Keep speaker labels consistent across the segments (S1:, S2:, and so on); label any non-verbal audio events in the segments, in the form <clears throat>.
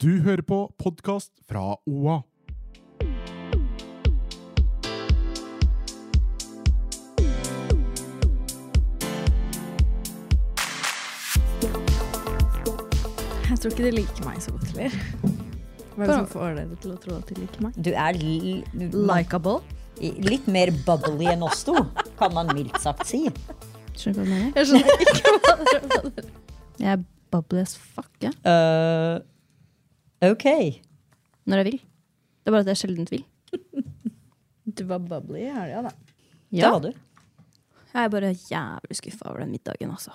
S1: Du hører på podkast fra OA.
S2: Jeg tror ikke de liker meg så godt heller. Hva er det som får dere til å tro at de liker meg?
S3: Du er li- du-
S2: Likeable?
S3: litt mer bubbly enn oss to, kan man mildt sagt si.
S4: Skjønner du hva jeg mener?
S2: Jeg skjønner ikke hva dere mener.
S4: Jeg er bubbly as fuck, jeg.
S3: Eh, ok.
S4: Når jeg vil. Det er bare at jeg sjelden vil.
S2: <laughs> Du var bubbly i helga, da.
S3: Det var du.
S4: Jeg er bare jævlig skuffa over den middagen, <laughs> altså.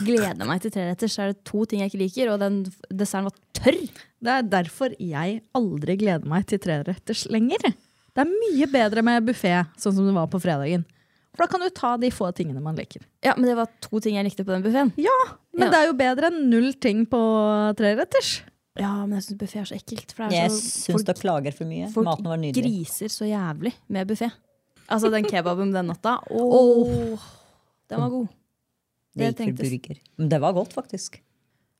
S4: Gleder meg til treretters. Så er det to ting jeg ikke liker, og den f- desserten var tørr.
S2: Det er derfor jeg aldri gleder meg til treretters lenger. Det er mye bedre med buffé, sånn som det var på fredagen. For da kan du ta de få tingene man liker.
S4: Ja, men det var to ting jeg likte på den buffeen.
S2: Ja, men
S4: Ja.
S2: det er jo bedre enn null ting på treretters.
S4: Ja, men jeg syns buffé er så ekkelt. For det er
S3: Jeg
S4: så
S3: syns du klager for mye.
S4: Altså, folk
S3: Maten var nydelig.
S4: griser så jævlig med buffé. Altså den kebaben den natta. <laughs> Åh, Den var god.
S3: Det
S4: Det
S3: gikk for
S4: trengtes.
S3: burger. Men det var godt, faktisk.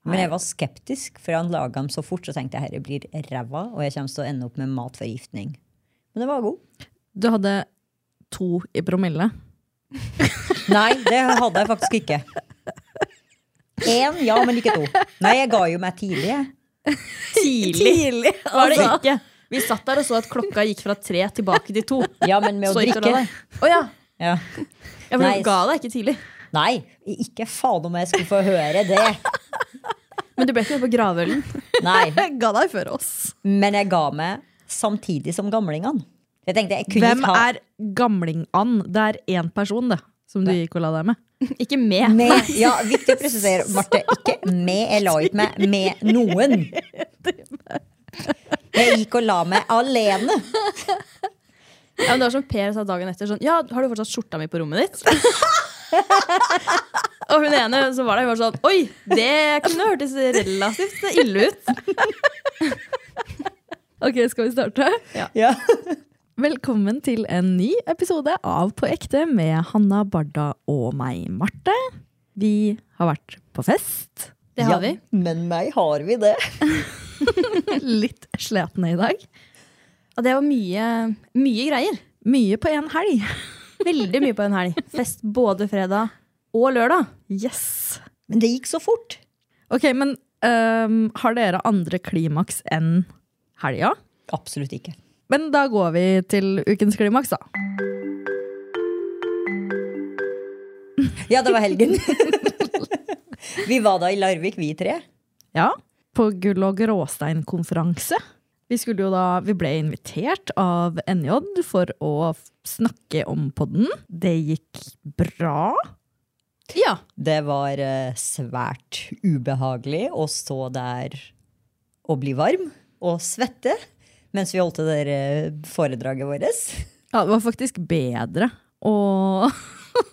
S3: Men jeg var skeptisk, for han laga dem så fort. Så tenkte jeg herre blir ræva, og jeg kommer til å ende opp med matforgiftning. Men det var god.
S2: Du hadde to i promille.
S3: Nei, det hadde jeg faktisk ikke. Én, ja, men ikke to. Nei, jeg ga jo meg tidlig, jeg.
S4: Tidlig. Var det ikke? Vi satt der og så at klokka gikk fra tre tilbake til to.
S3: Ja, men med å
S4: Så gikk du og
S3: drikke.
S4: la deg. Å ja.
S3: Ja.
S4: Ja, for
S3: Nei.
S4: du ga deg ikke tidlig.
S3: Nei, ikke faen om jeg skulle få høre det.
S4: Men du ble ikke med på gravølen.
S3: Nei,
S2: Jeg ga deg før oss.
S3: Men jeg ga meg samtidig som gamlingene. Jeg tenkte, jeg kunne
S2: Hvem
S3: ikke ha
S2: er gamling-and? Det er én person, det. Som du gikk og la deg med.
S4: Ikke med.
S3: med, ja, Viktig å presisere, Marte. Ikke med. Jeg la ikke meg med noen. Jeg gikk og la meg alene.
S4: Ja, men det var som Per sa dagen etter sånn Ja, har du fortsatt skjorta mi på rommet ditt? <laughs> og hun ene så var der, hun var sånn Oi, det kunne hørtes relativt ille ut.
S2: Ok, skal vi starte?
S3: Ja.
S2: Velkommen til en ny episode av På ekte med Hanna Barda og meg, Marte. Vi har vært på fest.
S4: Det har vi.
S3: men meg har vi det.
S2: <laughs> Litt sletne i dag.
S4: Og det var mye, mye greier.
S2: Mye på én helg.
S4: Veldig mye på en helg. Fest både fredag og lørdag.
S2: Yes.
S3: Men det gikk så fort.
S2: Ok, men øhm, har dere andre klimaks enn helga?
S3: Absolutt ikke.
S2: Men da går vi til ukens klimaks, da.
S3: Ja, det var
S4: <laughs>
S3: helgen. Vi var da i Larvik, vi tre.
S2: Ja. På Gull- og gråsteinkonferanse. Vi, skulle jo da, vi ble invitert av NJ for å f- snakke om podden. Det gikk bra.
S4: Ja.
S3: Det var eh, svært ubehagelig å stå der og bli varm og svette mens vi holdt det der eh, foredraget vårt.
S2: Ja, det var faktisk bedre. <laughs>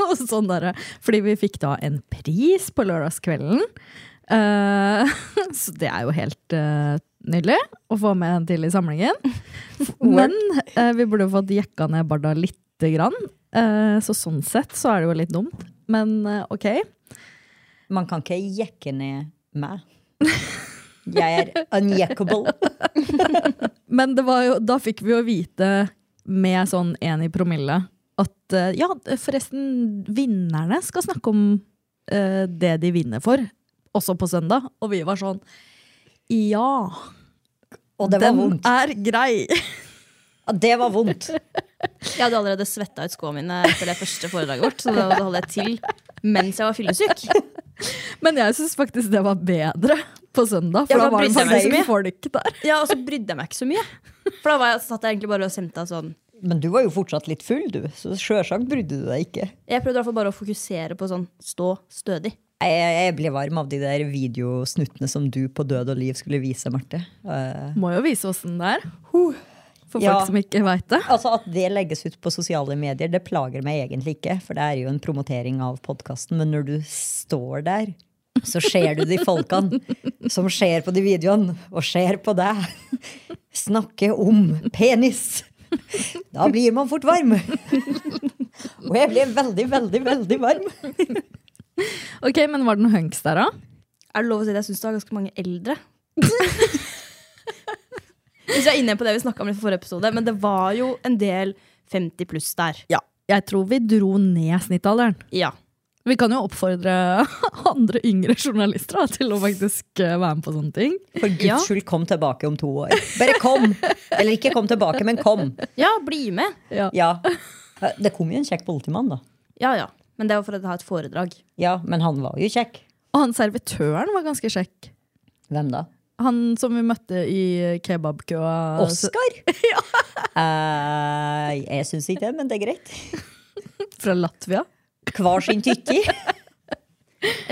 S2: Og sånn derre Fordi vi fikk da en pris på lørdagskvelden. Eh, <laughs> så det er jo helt eh, nydelig å få med en til i samlingen. Men eh, vi burde jo fått jekka ned Barda lite grann. Eh, så sånn sett så er det jo litt dumt. Men eh, ok.
S3: Man kan ikke jekke ned meg. Jeg er unjekkable.
S2: Men det var jo, da fikk vi jo vite med sånn én i promille at eh, ja, forresten, vinnerne skal snakke om eh, det de vinner for, også på søndag. Og vi var sånn Ja,
S3: Og det var
S2: den
S3: vondt.
S2: er grei! <laughs>
S3: Ja, Det var vondt.
S4: Jeg hadde allerede svetta ut skoene mine etter det første foredraget vårt. Så da holdt jeg til mens jeg var fyllesyk.
S2: Men jeg syns faktisk det var bedre på søndag, for
S4: Ja,
S2: da
S4: da
S2: var det
S4: brydde jeg meg
S2: faktisk
S4: ikke
S2: folk der.
S4: Ja, Og så brydde jeg meg ikke så mye. For da var jeg, satt jeg egentlig bare og semta sånn.
S3: Men du var jo fortsatt litt full, du. Så sjølsagt brydde du deg ikke.
S4: Jeg prøvde i hvert fall bare å fokusere på sånn stå stødig.
S3: Jeg, jeg ble varm av de der videosnuttene som du på Død og liv skulle vise, Marte. Eh,
S2: Må jo vise åssen det er. For
S3: Ja.
S2: folk som ikke veit det.
S3: altså At det legges ut på sosiale medier, det plager meg egentlig ikke. For det er jo en promotering av podkasten. Men når du står der, så ser du de folkene som ser på de videoene, og ser på deg, snakke om penis. Da blir man fort varm. Og jeg ble veldig, veldig, veldig varm.
S2: Ok, Men var det noe hunks der, da?
S4: Er det lov å si at jeg syns du har ganske mange eldre? <laughs> Hvis vi er inne på det vi snakka om i forrige episode, men det var jo en del 50 pluss der.
S2: Ja. Jeg tror vi dro ned snittalderen.
S4: Ja.
S2: Vi kan jo oppfordre <laughs> andre yngre journalister da, til å faktisk eh, være med på sånne ting.
S3: For guds
S4: Ja.
S3: skyld, kom tilbake om to år. Bare kom! Eller ikke kom tilbake, men kom.
S4: ja, bli med.
S3: Ja. Det kom jo en kjekk politimann, da.
S4: Ja, ja. Men det var for å ha et foredrag.
S3: Ja, Men han var jo kjekk.
S2: Og han servitøren var ganske kjekk.
S3: Hvem da?
S2: Han som vi møtte i kebabkøa.
S3: Oskar? Eh, jeg syns ikke det, men det er greit.
S2: Fra Latvia.
S3: Hver sin tytti.
S4: Jeg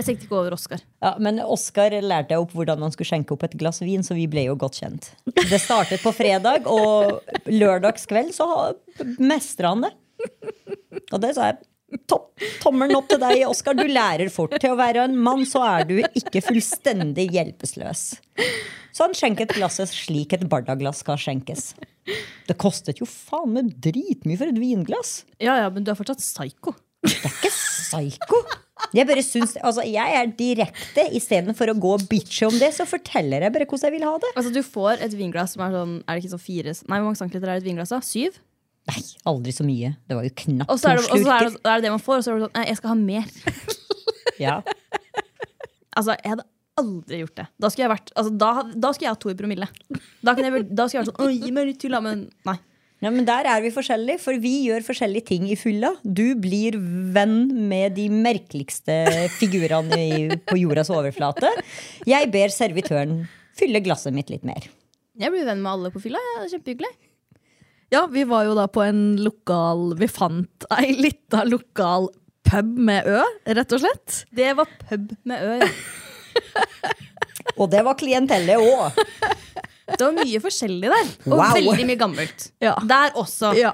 S4: tenkte ikke over Oskar.
S3: Ja, men Oskar lærte jeg opp hvordan man skulle skjenke opp et glass vin, så vi ble jo godt kjent. Det startet på fredag, og lørdagskveld så mestra han det. Og det sa jeg. Topp, tommelen opp til deg, Oskar. Du lærer fort. Til å være en mann så er du ikke fullstendig hjelpeløs. Så han skjenket glasset slik et bardaglass skal skjenkes. Det kostet jo faen meg dritmye for et vinglass.
S4: Ja, ja, men du er fortsatt psyko.
S3: ikke psyko. Jeg bare syns, altså jeg er direkte. Istedenfor å gå og bitche om det, så forteller jeg bare hvordan jeg vil ha det.
S4: Altså, du får et vinglass som er sånn Er det ikke sånn fire Nei, hvor mange centiliter er det et vinglass? da? Syv?
S3: Nei, aldri så mye. Det var jo knapt
S4: Og så er, det-
S3: to
S4: og så er,
S3: slurker.
S4: det- er det det man får, og så er det sånn Nei, jeg skal ha mer.
S3: Ja.
S4: Altså, jeg hadde aldri gjort det. Da skulle jeg vært altså, da, had- da skulle jeg hatt to i promille. Da, kunne jeg, vært- da skulle jeg vært sånn Å, gi meg litt til, da. Men nei.
S3: Ja, men der er vi forskjellige, for vi gjør forskjellige ting i fylla. Du blir venn med de merkeligste figurene i, på jordas overflate. Jeg ber servitøren fylle glasset mitt litt mer.
S4: Jeg blir venn med alle på fylla. jeg. Det er Kjempehyggelig.
S2: Ja, vi var jo da på en lokal Vi fant ei lita lokal pub med ø, rett og slett.
S4: Det var pub med ø. Ja.
S3: Og det var klientellet òg.
S4: Det var mye forskjellig der. Og
S3: Wow.
S4: veldig mye gammelt.
S2: Ja.
S4: Der også.
S2: Ja.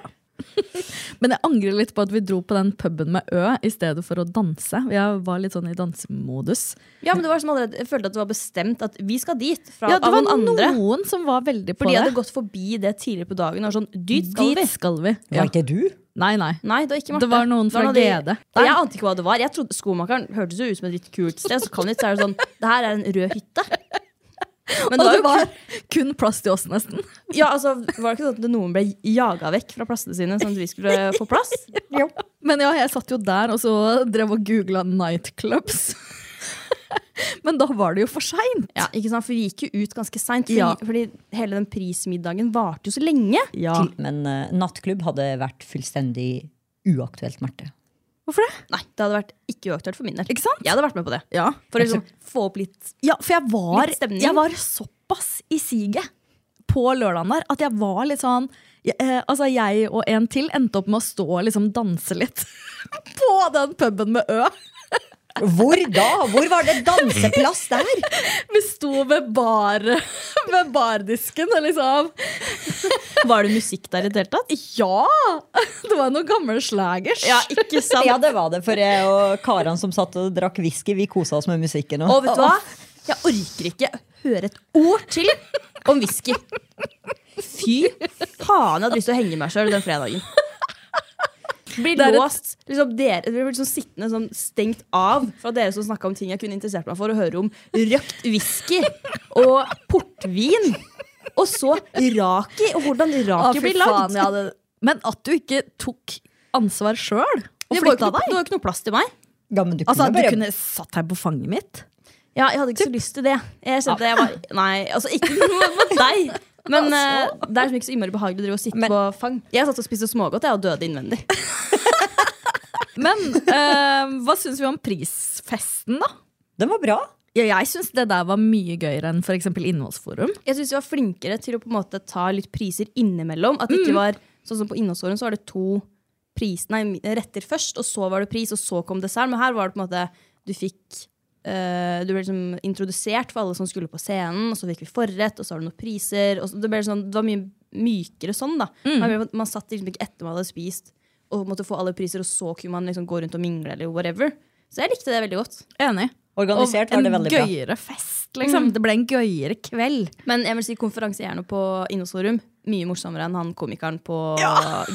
S2: Men jeg angrer litt på at vi dro på den puben med ø i stedet for å danse. Jeg var litt sånn i dansemodus.
S4: Ja, men det var som allerede, Jeg følte at det var bestemt at vi skal dit fra,
S2: Ja, det
S4: av
S2: var
S4: noen andre.
S2: noen som var veldig på
S4: For de hadde
S2: det.
S4: gått forbi det tidligere på dagen. Og var sånn, dit skal vi
S2: Dit skal vi. Ja.
S3: Var ikke du?
S2: Nei, nei.
S4: Nei, det var ikke Marte.
S2: Det var noen fra
S4: av de-
S2: GD.
S4: Og Jeg ante ikke hva det var. Jeg trodde Skomakeren hørtes jo ut som et litt kult sted. Så kom dit, så er det sånn <laughs> Det her er en rød
S2: <laughs>
S4: hytte. Men
S2: Og
S4: det var,
S2: det
S4: jo
S2: var kun plass til oss, nesten.
S4: ikke- ja, altså, var det ikke sånn at noen ble jaga vekk fra plassene sine, sånn at vi skulle få plass?
S2: Men ja, jeg satt jo der og så drev og googla nightclubs. <laughs> Men da var det jo for seint.
S4: Ja, ikke sant? For vi gikk jo ut ganske seint. Fordi,
S2: Ja.
S4: fordi hele den prismiddagen varte jo så lenge.
S2: Ja.
S3: Til- Men eh, nattklubb hadde vært fullstendig uaktuelt, Marte.
S2: Hvorfor det?
S4: Nei, det hadde vært ikke uaktuelt for min del.
S2: Ikke sant?
S4: Jeg hadde vært med på det.
S2: Ja,
S4: For å liksom, få opp litt <laughs>
S2: ja for jeg var,
S4: Litt stemning.
S2: jeg var såpass i siget på lørdagen der at jeg var litt sånn jeg, eh, Altså, jeg og en til endte opp med å stå og liksom danse litt <laughs> på den puben med Ø.
S3: Hvor da? Hvor var det danseplass der?
S2: Vi sto ved, bar, <laughs> ved bardisken og liksom
S4: Var det musikk der i det hele tatt?
S2: <laughs> Ja! Det var noen gamle slagers.
S4: Ja, ikke sant?
S3: Ja, det var det. For jeg og karene som satt og drakk whisky, vi kosa oss med musikken.
S4: Og vet du hva? Jeg orker ikke høre et ord til om <laughs> whisky. Fy faen, jeg hadde lyst til å henge meg sjøl den <laughs> fredagen. Blir
S2: Det er et-
S4: låst. Liksom dere, jeg blir liksom sittende sånn stengt av fra dere som snakka om ting jeg kunne interessert meg for, og høre om røkt whisky og portvin. Og så raki, og hvordan
S2: Å,
S4: raki
S2: fy
S4: blir lagd.
S2: faen, jeg hadde- Men at du ikke tok ansvar sjøl og
S4: Det var jo
S2: flytta
S4: ikke, det
S2: deg.
S4: var jo ikke noe plass til meg.
S3: Ja, men du kunne
S2: Altså, Du
S3: bare
S2: kunne satt her på fanget mitt.
S4: Ja, jeg hadde ikke så lyst til det. Jeg kjente jeg var, Nei, altså ikke noe mot deg. Men eh, det er liksom ikke så innmari behagelig å drive og sitte
S3: Men-
S4: på fang. Jeg satt og spiste smågodt jeg, og døde innvendig.
S2: Men eh, hva syns vi om prisfesten, da?
S3: Den var bra.
S2: Ja, jeg syns det der var mye gøyere enn f.eks. Innholdsforum.
S4: Jeg syns vi var flinkere til å på en måte ta litt priser innimellom. At det ikke var sånn som på innholdsåren, så var det to pris, nei, retter først, og så var det pris, og så kom dessert. Men her var det på en måte Du fikk eh, Du ble liksom introdusert for alle som skulle på scenen, og så fikk vi forrett, og så har du noen priser. Og så, det, ble sånn, det var mye mykere sånn, da. Man, ble, man satt liksom ikke etter man hadde spist, og måtte få alle priser, og så kunne man liksom gå rundt og mingle, eller whatever. Så jeg likte det veldig godt.
S2: Enig.
S3: Organisert var det veldig bra.
S2: En gøyere fest,
S4: Mm.
S2: liksom. Det ble en gøyere kveld.
S4: Men jeg vil si konferansehjerne på Innosorum mye morsommere enn han komikeren på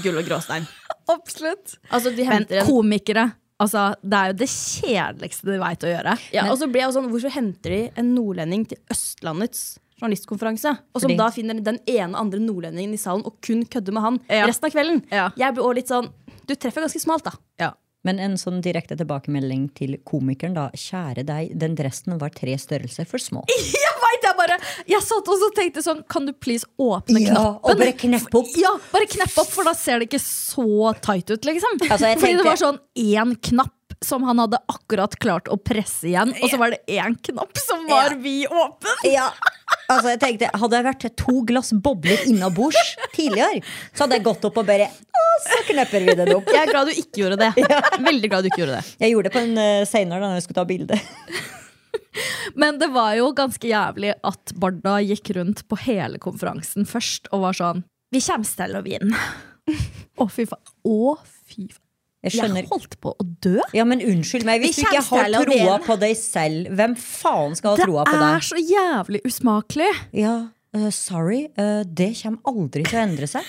S4: Gull og gråstein.
S2: Absolutt.
S4: Altså, de
S2: Men
S4: henter en
S2: komikere, altså, det er jo det kjedeligste de veit å gjøre.
S4: Ja, og så ble jeg også sånn, Hvorfor henter de en nordlending til Østlandets journalistkonferanse? Og som
S2: Fordi-
S4: da finner den ene andre nordlendingen i salen og kun kødder med han
S2: Ja.
S4: resten av kvelden.
S2: Ja.
S4: Jeg ble også litt sånn Du treffer ganske smalt, da.
S2: Ja.
S3: Men en sånn direkte tilbakemelding til komikeren, da. Kjære deg, den dressen var tre størrelser for små.
S2: Jeg vet, jeg bare Jeg satt også og tenkte sånn Kan du please åpne
S3: Ja,
S2: knappen?
S3: og bare knepp opp.
S2: Ja, bare knepp opp, for da ser det ikke så tight ut, liksom.
S3: Altså, jeg
S2: Fordi
S3: tenkte-
S2: det var sånn én knapp som han hadde akkurat klart å presse igjen, og så var det én knapp som var
S3: Ja.
S2: vid åpen!
S3: Ja, altså jeg tenkte Hadde jeg vært to glass bobler innabords tidligere, så hadde jeg gått opp og bare Å, så knepper vi den opp.
S4: Jeg er glad du ikke gjorde det.
S2: <laughs>
S4: Veldig glad du ikke gjorde det.
S3: Jeg gjorde det på en eh, senere da når jeg skulle ta bilde.
S2: Men det var jo ganske jævlig at Barda gikk rundt på hele konferansen først og var sånn Vi kommer til å vinne. Å, fy faen. Å, fy faen.
S3: Jeg
S2: Jeg
S3: skjønner.
S2: holdt på å dø.
S3: Ja, men unnskyld meg, hvis
S2: Vi
S3: du ikke
S2: kommer
S3: har
S2: til å
S3: troa
S2: vinne.
S3: på deg selv, hvem faen skal ha
S2: Det
S3: troa på
S2: er
S3: deg?
S2: så jævlig usmakelig.
S3: Ja, eh, sorry, eh, det kommer aldri til å endre seg.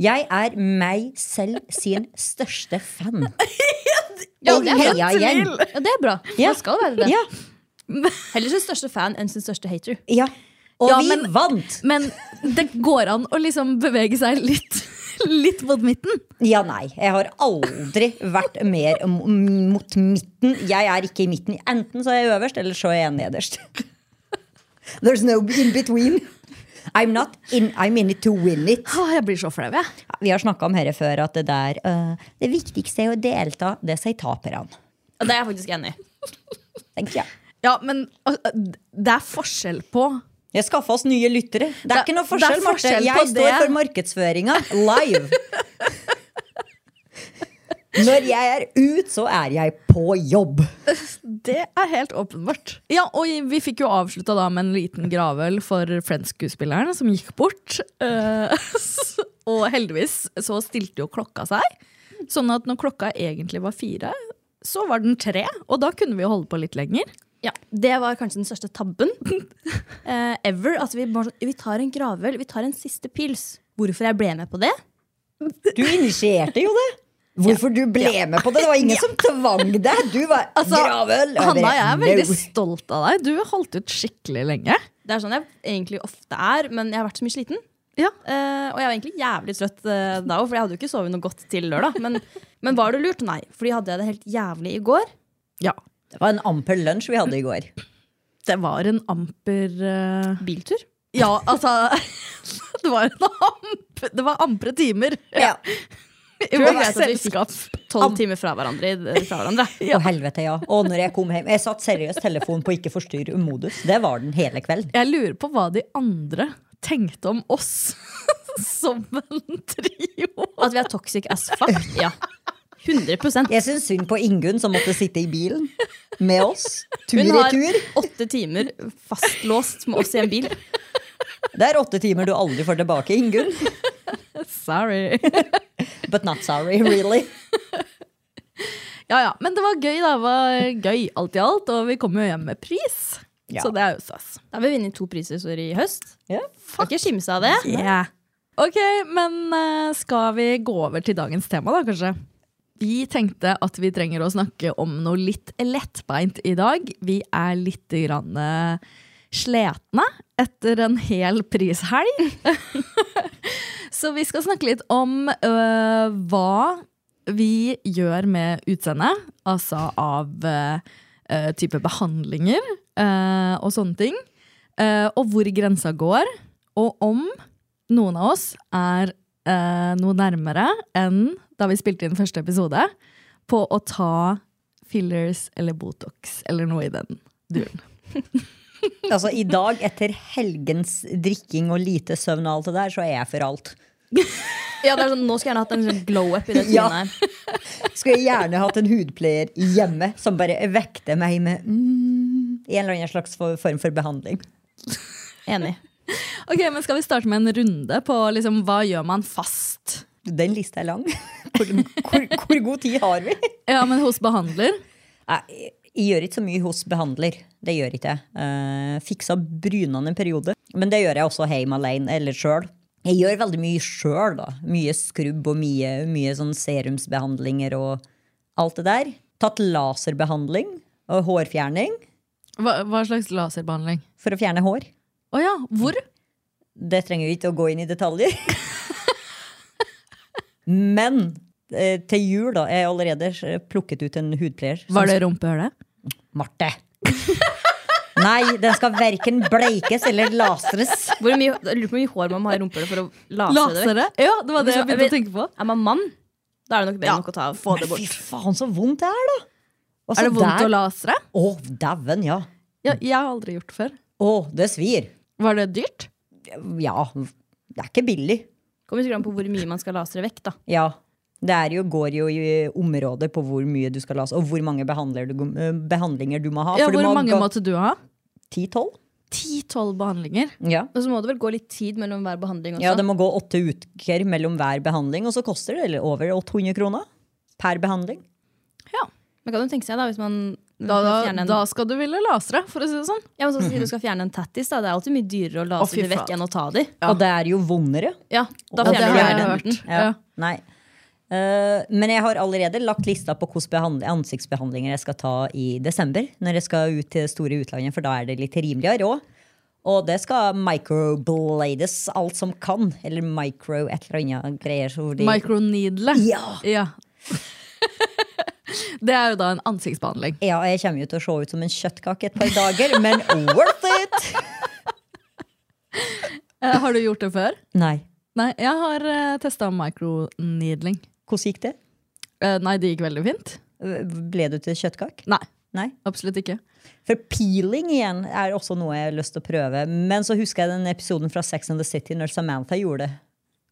S3: Jeg er meg selv sin største fan.
S2: <laughs>
S4: Ja,
S3: Og heia igjen.
S4: Ja, det er bra.
S3: Ja.
S4: Det skal være det.
S3: Ja,
S4: Heller sin største fan enn sin største hater.
S3: ja. Og
S2: Ja,
S3: vi
S2: men-
S3: vant!
S2: Men det går an å liksom bevege seg litt, litt mot midten.
S3: Ja, nei. Jeg har aldri vært mer m- m- mot midten. Jeg er ikke i midten. Enten så er jeg øverst, eller så er jeg nederst. <laughs> There's no in between. I'm not in, I'm in it to win it.
S2: Åh, jeg blir så flau, jeg.
S3: Vi har snakka om dette før, at det der øh, Det viktigste er å delta, det sier taperne.
S4: Og det er jeg faktisk enig i.
S3: Tenker jeg.
S2: Ja, men øh, øh, det er forskjell på
S3: Jeg skaffa oss nye lyttere. Det er
S2: Det-
S3: ikke noe forskjell,
S2: det er
S3: Marte.
S2: forskjell på
S3: Jeg står
S2: det.
S3: for markedsføringa live. <laughs> Når jeg er ut, så er jeg på jobb.
S2: Det er helt åpenbart. Ja, og vi fikk jo avslutta da med en liten gravøl for Friends-skuespilleren som gikk bort. Eh, <laughs> og heldigvis så stilte jo klokka seg. Sånn at når klokka egentlig var fire, så var den tre. Og da kunne vi jo holde på litt lenger.
S4: Ja, Det var kanskje den største tabben eh, ever. At vi bare sånn Vi tar en gravøl. Vi tar en siste pils. Hvorfor jeg ble med på det?
S3: Du initierte jo det. Hvorfor du ble med på det? Det var ingen som tvang deg. Du var gravøl. Altså, Jeg
S2: Hanna,
S3: bare,
S2: jeg er veldig
S3: no.
S2: stolt av deg. Du holdt ut skikkelig lenge.
S4: Det er sånn jeg egentlig ofte er, men jeg har vært så mye sliten.
S2: Ja.
S4: Eh, og jeg var egentlig jævlig trøtt eh, da òg, for jeg hadde jo ikke sovet noe godt til lørdag. Men, men var det lurt? Nei. Fordi hadde jeg det helt jævlig i går.
S2: ja.
S3: Det var en amper lunsj vi hadde i går.
S2: Det var en amper eh,
S4: Biltur.
S2: Ja, altså <laughs> Det var en amp, det var ampre timer
S3: Ja.
S2: i
S4: var
S2: vårt
S4: greit at vi
S2: selskap.
S4: Tolv timer fra hverandre. i- Fra hverandre.
S3: Å, helvete, ja. Og når jeg kom hjem Jeg satt seriøst telefonen på ikke forstyrr-modus. Det var den hele kvelden.
S2: Jeg lurer på hva de andre tenkte om oss <laughs> som en trio.
S4: At vi er toxic as fuck. Ja. 100
S3: Jeg syns synd på Ingunn som måtte sitte i bilen med oss. Tur
S4: Hun
S3: i
S4: har
S3: tur.
S4: åtte timer fastlåst med oss i en bil.
S3: Det er åtte timer du aldri får tilbake, Ingunn.
S2: Sorry.
S3: But not sorry, really.
S2: Ja, ja. Men det var gøy, da. Det var gøy alt i alt. Og vi kom jo hjem med pris.
S3: Ja.
S2: Så det er jo stas.
S4: Da har vi vunnet to priser så i høst.
S3: Ja.
S4: Skal ikke kimse av det.
S2: Yeah. Ok, men eh, skal vi gå over til dagens tema da, kanskje? Vi tenkte at vi trenger å snakke om noe litt lettbeint i dag. Vi er litt grann eh, sletne etter en hel prishelg. <laughs> Så vi skal snakke litt om eh, hva vi gjør med utseendet. Altså av eh, eh, type behandlinger eh, og sånne ting. Eh, og hvor grensa går. Og om noen av oss er eh, noe nærmere enn da vi spilte inn første episode, på å ta fillers eller Botox eller noe i den duren.
S3: Altså, I dag, etter helgens drikking og lite søvn og alt det der, så er jeg for alt.
S4: Ja, det er sånn, Nå skulle jeg gjerne hatt en sånn glow up i det trynet
S3: Ja.
S4: her.
S3: Skulle jeg gjerne hatt en hudpleier hjemme som bare vekter meg med mm, en eller annen slags for- form for behandling.
S4: Enig.
S2: Ok, men Skal vi starte med en runde på liksom, hva gjør man fast?
S3: Den lista er lang. Hvor, hvor, hvor god tid har vi?
S2: Ja, men hos behandler?
S3: Nei, Jeg jeg gjør ikke så mye hos behandler. Det gjør ikke jeg. Eh, fiksa brynene en periode. Men det gjør jeg også hjemme alene eller sjøl. Jeg gjør veldig mye sjøl, da. Mye skrubb og mye, mye sånn serumsbehandlinger og alt det der. Tatt laserbehandling og hårfjerning
S2: Hva, hva slags laserbehandling?
S3: for å fjerne hår.
S2: Å ja, hvor?
S3: Det trenger vi ikke å gå inn i detaljer. <laughs> Men eh, til jul, da, er jeg allerede plukket ut en hudpleier. som
S2: Var det rumpehullet?
S3: Marte. Nei, den skal verken bleikes eller lasres.
S4: Hvor mye, jeg lurer på hvor mye hår man må ha i rumpehullet for å lase det vekk.
S2: Lasere? Ja, det var det jeg
S4: Men så-
S2: begynte å tenke på.
S4: Er man mann, da er det nok bedre nok å ta få det
S3: Fy
S4: bort.
S3: faen, så vondt det er, da!
S2: Er det vondt å lasere?
S3: Å, dæven, ja.
S2: Ja, jeg har aldri gjort det før.
S3: Å, det svir.
S2: Var det dyrt?
S3: Ja, det er ikke billig.
S4: Kommer sikkert an på hvor mye man skal lase det vekk, da.
S3: Ja. Det er jo, går jo i områder på hvor mye du skal lase, og hvor mange behandler du, eh, behandlinger du må ha.
S2: Ja,
S3: for du
S2: hvor
S3: må
S2: mange
S3: ga-
S2: måtte du ha?
S3: 10-12?
S2: Ti-tolv behandlinger.
S3: Ja.
S4: Og så må det vel gå litt tid mellom hver behandling også.
S3: ja, det må gå åtte uker mellom hver behandling, og så koster det eller, over 800 kroner per behandling.
S4: Men kan du tenke seg da, hvis man
S2: Da, da,
S4: fjerner en,
S2: da skal du ville lasere, for å si det sånn.
S4: Ja, men sånn som si du skal fjerne en tattis, da. Det er alltid mye dyrere å
S2: Å,
S4: lase
S2: fy
S4: det vekk
S2: faen.
S4: enn å ta det.
S2: Ja.
S3: Og det er jo vondere.
S4: Ja,
S3: Ja,
S4: da
S3: det
S4: fjerner
S3: har jeg
S4: du
S3: hørt.
S4: enten.
S3: Ja.
S2: Ja.
S3: Nei. Eh, men jeg har allerede lagt lista på hvilke behand- ansiktsbehandlinger jeg skal ta i desember. Når jeg skal ut til store utlandet, for da er det litt rimeligere òg. Og det skal microblades alt som kan. Eller micro et eller annet greier. Så de,
S2: Microneedle.
S3: ja.
S2: Ja. <laughs> det er jo da en ansiktsbehandling.
S3: ja, jeg kommer jo til å se ut som en kjøttkake et par dager, men worth it!
S2: Eh, har du gjort det før?
S3: Nei.
S2: Nei, jeg har uh, testa microneedling.
S3: Hvordan gikk det?
S2: Eh, nei, det gikk veldig fint.
S3: Ble du til kjøttkake?
S2: Nei,
S3: Nei?
S2: absolutt ikke.
S3: For peeling igjen er også noe jeg har lyst til å prøve. Men så husker jeg den episoden fra Sex and the City når Samantha gjorde det.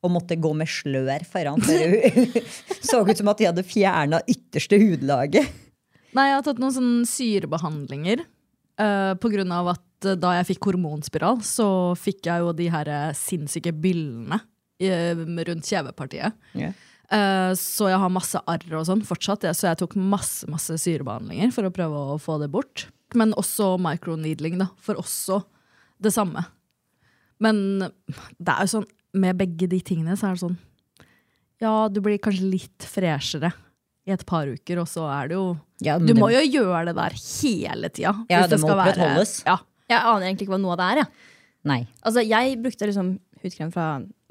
S3: Og måtte gå med slør foran. For hun <laughs> så ut som at de hadde fjerna ytterste hudlaget.
S2: Nei, jeg har tatt noen sånne syrebehandlinger. eh, på grunn av at eh, da jeg fikk hormonspiral, så fikk jeg jo de her eh, sinnssyke byllene eh, rundt kjevepartiet. Eh, så jeg har masse arr og sånn fortsatt, jeg- så jeg tok masse masse syrebehandlinger for å prøve å få det bort. Men også microneedling, da, for også det samme. Men det er jo sånn, med begge de tingene så er det sånn Ja, du blir kanskje litt freshere i et par uker, og så er det jo
S3: Ja,
S2: Du må jo gjøre det der hele tida.
S3: Ja,
S2: hvis
S3: det må
S2: skal være-
S3: opprettholdes.
S2: Ja.
S4: Jeg aner egentlig ikke hva noe av det er, jeg.
S3: Nei.
S4: Altså, jeg brukte liksom hudkrem fra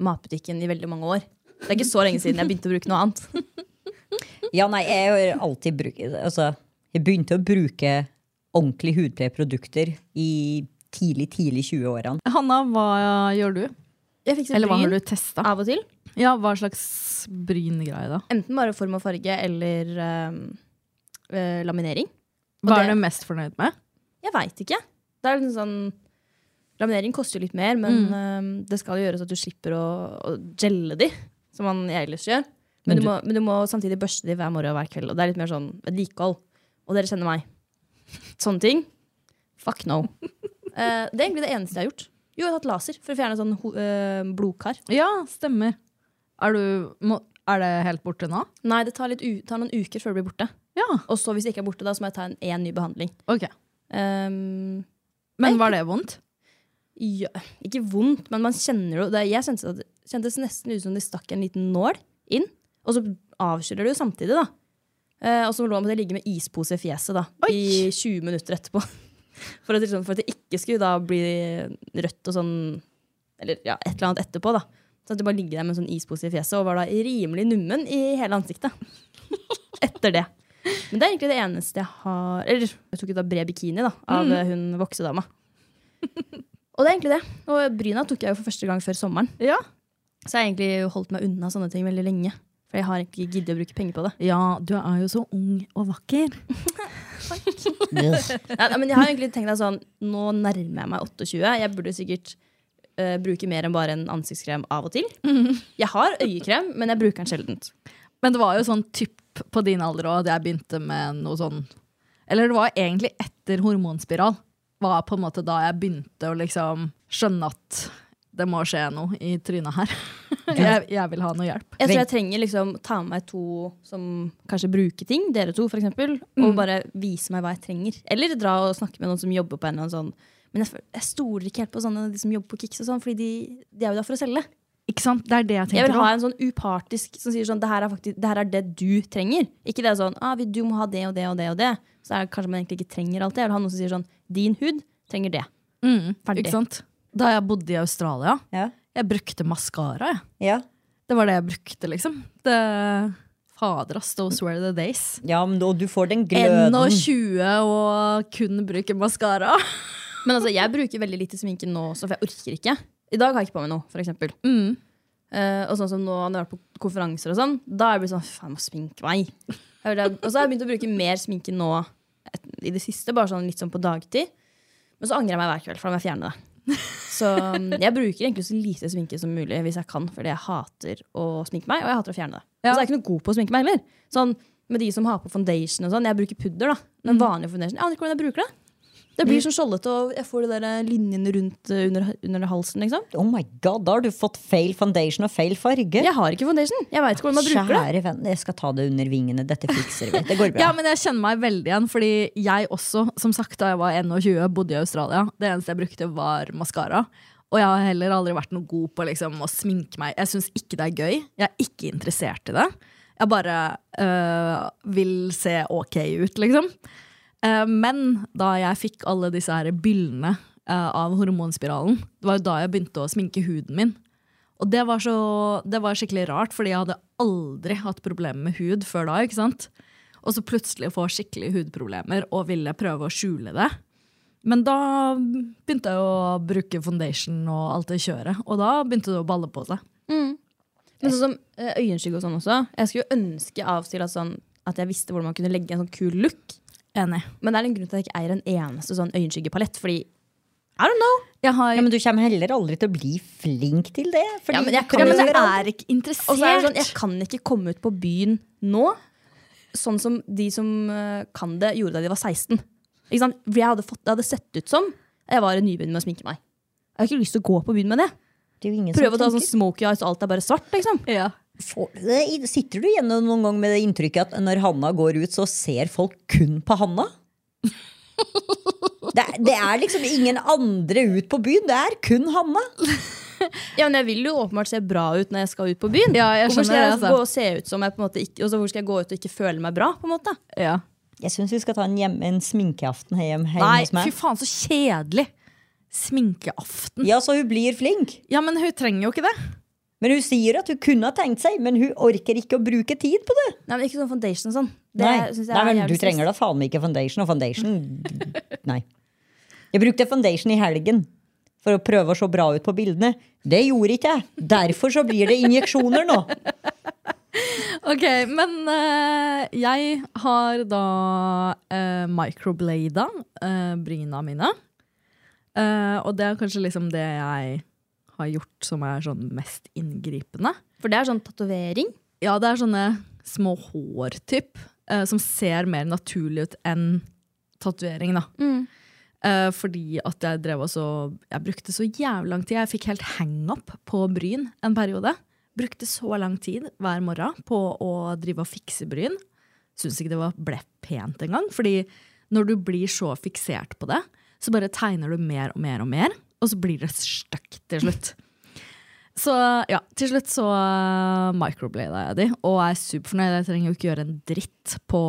S4: matbutikken i veldig mange år. Det er ikke så lenge siden jeg begynte å bruke noe annet. <laughs>
S3: Ja, nei, jeg har alltid brukt Altså, jeg begynte å bruke ordentlig hudpleieprodukter i tidlig, tidlig 20-årene.
S2: Hanna, hva gjør du?
S4: Jeg fikser
S2: Eller hva har
S4: bryn
S2: du testa?
S4: av og til.
S2: Ja, hva slags bryngreie, da?
S4: Enten bare form og farge eller eh, eh, laminering. Og
S2: Hva
S4: det-
S2: er du mest fornøyd med?
S4: Jeg veit ikke. Det er liksom sånn Laminering koster jo litt mer, men eh, det skal jo gjøres at du slipper å, å gelle de, som man ellers gjør. Men,
S3: Men
S4: du,
S3: du-
S4: må, men du må samtidig børste de hver morgen og hver kveld. Og det er litt mer sånn vedlikehold. Og dere kjenner meg. Sånne ting. Fuck no. <laughs> Eh, det er egentlig det eneste jeg har gjort. Jo, jeg har tatt laser for å fjerne sånn ho- eh, blodkar.
S2: Ja, stemmer. Er, du, må, er det helt borte nå?
S4: Nei, det tar, litt u tar noen uker før det blir borte.
S2: Ja,
S4: Og så hvis det ikke er borte, da, så må jeg ta en, en ny behandling.
S2: ok.
S4: Ehm,
S2: Men var det vondt?
S4: ja, ikke vondt, men man kjenner jo det, Jeg kjente at det kjentes nesten ut som de stakk en liten nål inn, og så avkjøler det jo samtidig, da. Eh, og så lå man til å ligge med ispose i fjeset da, i 20 minutter etterpå. <laughs> For at, det liksom- for at det ikke skulle da bli rødt og sånn, eller ja, et eller annet etterpå, da. Så at du bare ligger der med en sånn ispose i fjeset og var da rimelig nummen i hele ansiktet. <laughs> Etter det. Men det er egentlig det eneste jeg har Eller jeg tok ut da bred bikini da, av eh, hun voksedama. Og det er egentlig det. Og bryna tok jeg jo for første gang før sommeren.
S2: Ja.
S4: Så jeg har egentlig holdt meg unna sånne ting veldig lenge. For jeg har egentlig ikke giddet å bruke penger på det.
S2: Ja, du er jo så ung og vakker.
S4: Nei, nei, men jeg har egentlig tenkt at sånn, nå nærmer jeg meg 28. Jeg burde sikkert eh, bruke mer enn bare en ansiktskrem av og til. Jeg har øyekrem, men jeg bruker den sjeldent.
S2: Men det var jo sånn typ opp på din alder òg, at jeg begynte med noe sånn Eller det var egentlig etter hormonspiral. Var på en måte da jeg begynte å liksom skjønne at det må skje noe i trynet <laughs> her. Jeg, jeg vil ha noe hjelp.
S4: Jeg tror jeg trenger liksom ta med meg to som kanskje bruker ting, dere to f.eks., og bare vise meg hva jeg trenger. Eller dra og snakke med noen som jobber på en eller annen sånn Men jeg, føl- jeg stoler ikke helt på sånne de som jobber på Kix, og sånn, fordi de, de er jo der for å selge.
S2: Ikke sant? Det er det jeg
S4: Jeg
S2: tenker
S4: vil ha en sånn upartisk som sier sånn det her er, faktisk, det her er det du trenger. Ikke det sånn ah, vi- du må ha det og det og det og det. Så er det kanskje man egentlig ikke trenger alt det. Jeg vil ha noen som sier sånn din hud trenger det.
S2: Mm,
S4: Ferdig.
S2: Ikke sant? Da jeg bodde i Australia,
S3: Ja.
S2: jeg brukte maskara. jeg.
S3: Ja.
S2: Det var det jeg brukte, liksom. Det, fader, ass, those were the days.
S3: ja, men og du får den gløden.
S2: 21 og kun bruke maskara.
S4: Men altså, jeg bruker veldig lite sminke nå også, for jeg orker ikke. I dag har jeg ikke på meg noe, for eksempel.
S2: Mm.
S4: Eh, og sånn som nå når jeg har vært på konferanser og sånn, da er jeg blitt sånn faen, jeg må sminke meg. Jeg vil- Og så har jeg begynt å bruke mer sminke nå et- i det siste, bare sånn litt sånn på dagtid. Men så angrer jeg meg hver kveld, for da må jeg fjerne det. Så mm, jeg bruker egentlig så lite sminke som mulig hvis jeg kan, fordi jeg hater å sminke meg, og jeg hater å fjerne det. Og så er jeg ikke noe god på å sminke meg heller. Sånn med de som har på foundation og sånn, jeg bruker pudder, da. Men vanlig foundation, jeg aner ikke hvordan jeg bruker det. Det
S2: Mm.
S4: blir sånn skjoldete, og jeg får de der linjene rundt eh, under, under halsen, liksom.
S3: Oh my god, da har du fått feil foundation og feil farge.
S4: Jeg har ikke foundation. Jeg veit ikke hvordan man bruker det.
S3: Kjære venn, jeg skal ta det under vingene. Dette fikser vi. Det går
S4: <laughs>
S3: bra.
S2: Ja, men jeg kjenner meg veldig igjen, fordi jeg også, som sagt, da jeg var 21, bodde i Australia. Det eneste jeg brukte, var maskara. Og jeg har heller aldri vært noe god på liksom, å sminke meg. Jeg syns ikke det er gøy. Jeg er ikke interessert i det. Jeg bare øh, vil se ok ut, liksom. Eh, men da jeg fikk alle disse her byllene eh, av hormonspiralen, det var jo da jeg begynte å sminke huden min. Og det var, så, det var skikkelig rart, fordi jeg hadde aldri hatt problemer med hud før da. ikke sant? Og så plutselig få skikkelig hudproblemer og ville prøve å skjule det. Men da begynte jeg å bruke foundation og alt det kjøret, og da begynte det å balle på seg.
S4: Men sånn som eh, øyenskygge og sånn også. Jeg skulle jo ønske av og til at, sånn, at jeg visste hvordan man kunne legge en sånn kul look.
S2: Enig.
S4: Men det er en grunn til at jeg ikke eier en eneste sånn øyenskyggepalett. Fordi I don't know.
S2: Jeg har,
S3: Ja, men du kommer heller aldri til å bli flink til det. fordi
S4: Ja, men jeg
S3: du
S4: kan
S2: ja,
S3: prøver
S2: men jeg
S3: aldri.
S2: er ikke interessert.
S4: Og så er det sånn, jeg kan ikke komme ut på byen nå sånn som de som eh, kan det, gjorde da de var 16. Ikke sant? For jeg hadde fått, det hadde sett ut som jeg var i nybegynner med å sminke meg. Jeg har ikke lyst til å gå på byen med det.
S3: Det er jo ingen som
S4: Prøve å ta sånn
S3: tenker.
S4: smoky eyes, og alt er bare svart. liksom
S2: ja.
S3: Får du det i- Sitter du igjen noen gang med det inntrykket at når Hanna går ut, så ser folk kun på Hanna? Det, er- det er liksom ingen andre ut på byen. Det er kun Hanna.
S4: Ja, men jeg vil jo åpenbart se bra ut når jeg skal ut på byen.
S2: Ja, jeg
S4: Hvorfor skal
S2: skjønner
S4: jeg
S2: det, altså.
S4: gå og se ut som jeg på en måte ikke Og så hvor skal jeg gå ut og ikke føle meg bra, på en måte?
S2: ja.
S3: Jeg syns vi skal ta en, hjem, en sminkeaften hjem, hjemme
S2: Nei,
S3: hos
S2: fy
S3: meg.
S2: faen, så kjedelig. Sminkeaften.
S3: Ja, så hun blir flink.
S2: Ja, men hun trenger jo ikke det.
S3: Men hun sier at hun kunne ha tenkt seg, men hun orker ikke å bruke tid på det.
S4: Nei, men Ikke sånn foundation og sånn.
S3: Nei, nei men du trenger da faen meg ikke foundation, og foundation <laughs> Nei. Jeg brukte foundation i helgen for å prøve å se bra ut på bildene. Det gjorde ikke jeg. Derfor så blir det injeksjoner nå.
S2: Ok, men eh, jeg har da uh, microblada eh, bryna mine. Eh, og det er kanskje liksom det jeg har gjort som er sånn mest inngripende.
S4: For det er sånn tatovering.
S2: Ja, det er sånne små hår, typ, eh, som ser mer naturlig ut enn tatovering, da.
S4: Mm.
S2: Eh, fordi at jeg drev også Jeg brukte så jævlig lang tid. Jeg fikk helt hang-up på bryn en periode. Brukte så lang tid hver morgen på å drive og fikse bryn. Syns ikke det var ble pent engang. Fordi når du blir så fiksert på det, så bare tegner du mer og mer og mer, og så blir det støkt til slutt. Så ja, til slutt så eh, microblada jeg de, og er superfornøyd. Jeg trenger jo ikke gjøre en dritt på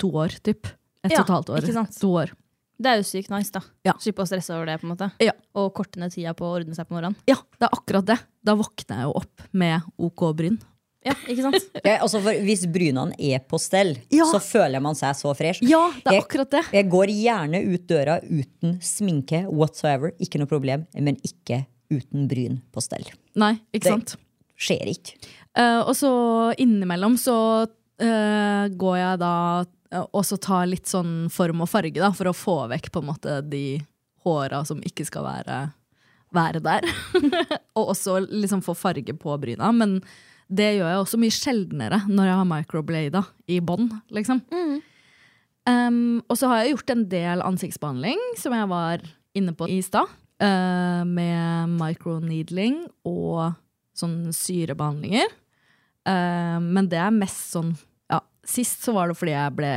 S2: to år, typ. Et
S4: Ja,
S2: og et halvt år.
S4: ikke sant?
S2: To år.
S4: Det er jo sykt nice, da.
S2: Ja.
S4: Slippe å stresse over det. på en måte
S2: Ja.
S4: Og korte ned tida på å ordne seg på morgenen.
S2: Ja, det er akkurat det. Da våkner jeg jo opp med OK bryn.
S4: Ja, ikke <laughs> sant?
S3: Jeg, altså for hvis brynene er på stell,
S2: Ja.
S3: så føler man seg så fresh.
S2: Ja, det er
S3: Jeg-
S2: akkurat det.
S3: Jeg går gjerne ut døra uten sminke whatsoever. Ikke noe problem, men ikke uten bryn på stell.
S2: Nei,
S3: Det-
S2: ikke sant?
S3: Skjer ikke.
S2: Eh, og så innimellom så eh, går jeg da eh, og så tar litt sånn form og farge, da, for å få vekk på en måte de håra som ikke skal <laughs> være, være der. og også liksom få farge på bryna. Men Det gjør jeg også mye sjeldnere når jeg har microblada i bånd. Liksom. Um, og så har jeg gjort en del ansiktsbehandling, som jeg var inne på i stad. eh, med microneedling og sånn syrebehandlinger. Eh, men det er mest sånn ja, Sist så var det fordi jeg ble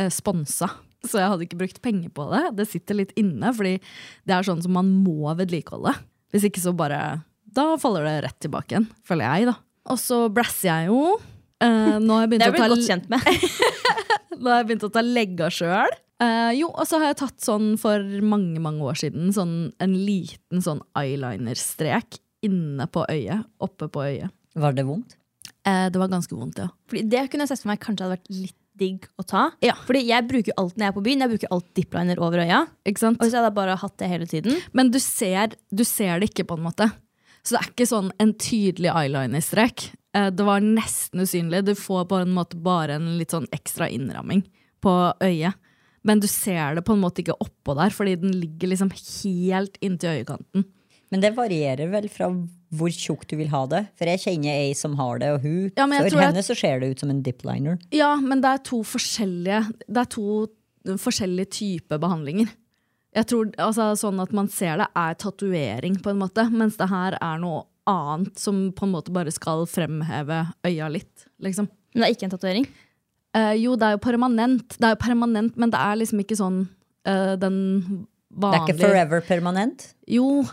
S2: eh, sponsa. Så jeg hadde ikke brukt penger på det. Det sitter litt inne, fordi det er sånn som man må vedlikeholde. Hvis ikke så bare Da faller det rett tilbake igjen, føler jeg, da. Og så brasser jeg jo. Eh, nå har jeg
S4: Det
S2: begynt å
S4: er jeg
S2: ta
S4: blitt godt kjent med.
S2: da har jeg begynt å ta legga sjøl. Eh, jo, og så har jeg tatt sånn for mange mange år siden sånn, en liten sånn eyelinerstrek inne på øyet. Oppe på øyet.
S3: Var det vondt?
S2: Eh, det var ganske vondt, ja.
S4: <laughs> Fordi det kunne jeg sett for meg kanskje hadde vært litt digg å ta.
S2: Ja.
S4: Fordi jeg bruker jo alt når jeg er på byen. Jeg bruker alt dipliner over øya.
S2: Ikke sant?
S4: Og hvis jeg hadde bare hatt det hele tiden
S2: Men du ser, du ser det ikke, på en måte. Så det er ikke sånn en tydelig eyelinerstrek. Eh, Det var nesten usynlig. Du får på en måte bare en litt sånn ekstra innramming på øyet. Men du ser det på en måte ikke oppå der, fordi den ligger liksom helt inntil øyekanten.
S3: Men det varierer vel fra hvor tjukt du vil ha det. For jeg kjenner ei som har det, og hun,
S2: Ja, men jeg
S3: for
S2: tror at-
S3: henne så ser det ut som en dipliner.
S2: Ja, men det er to forskjellige Det er to forskjellige typer behandlinger. Jeg tror altså, Sånn at man ser det, er tatovering, på en måte. Mens det her er noe annet som på en måte bare skal fremheve øya litt, liksom.
S4: Men det er ikke en tatovering.
S2: Eh, jo, det er jo permanent, det er jo permanent men det er liksom ikke sånn eh, den
S3: Det
S2: vanlige
S3: er ikke forever permanent.
S2: Jo,